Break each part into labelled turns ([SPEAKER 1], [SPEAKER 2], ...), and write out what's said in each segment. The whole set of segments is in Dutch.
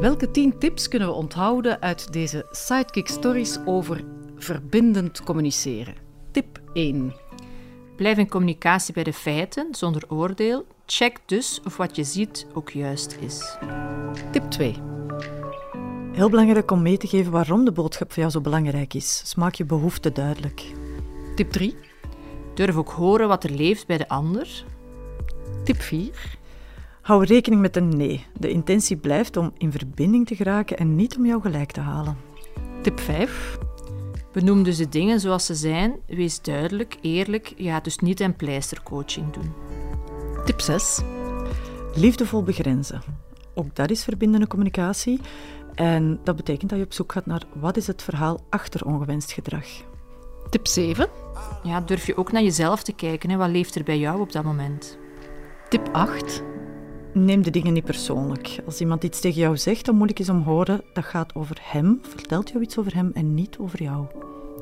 [SPEAKER 1] Welke tien tips kunnen we onthouden uit deze Sidekick Stories over verbindend communiceren? Tip 1.
[SPEAKER 2] Blijf in communicatie bij de feiten, zonder oordeel. Check dus of wat je ziet ook juist is.
[SPEAKER 1] Tip 2.
[SPEAKER 3] Heel belangrijk om mee te geven waarom de boodschap voor jou zo belangrijk is. Dus maak je behoefte duidelijk.
[SPEAKER 1] Tip 3.
[SPEAKER 2] Durf ook horen wat er leeft bij de ander.
[SPEAKER 1] Tip 4.
[SPEAKER 3] Hou rekening met een nee. De intentie blijft om in verbinding te geraken en niet om jou gelijk te halen.
[SPEAKER 1] Tip 5.
[SPEAKER 2] Benoem dus de dingen zoals ze zijn. Wees duidelijk, eerlijk. Je gaat dus niet een pleistercoaching doen.
[SPEAKER 1] Tip 6.
[SPEAKER 3] Liefdevol begrenzen. Ook dat is verbindende communicatie. En dat betekent dat je op zoek gaat naar wat is het verhaal achter ongewenst gedrag.
[SPEAKER 1] Tip 7.
[SPEAKER 2] Ja, durf je ook naar jezelf te kijken. Hè? Wat leeft er bij jou op dat moment?
[SPEAKER 1] Tip 8.
[SPEAKER 3] Neem de dingen niet persoonlijk. Als iemand iets tegen jou zegt dat moeilijk is om horen, dat gaat over hem, vertelt jou iets over hem en niet over jou.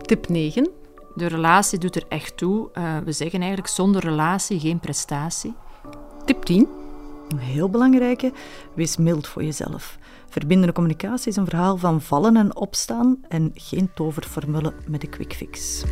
[SPEAKER 1] Tip 9.
[SPEAKER 2] De relatie doet er echt toe. Eh, we zeggen eigenlijk zonder relatie geen prestatie.
[SPEAKER 1] Tip 10.
[SPEAKER 3] Een heel belangrijke, wees mild voor jezelf. Verbindende communicatie is een verhaal van vallen en opstaan en geen toverformule met een quick fix.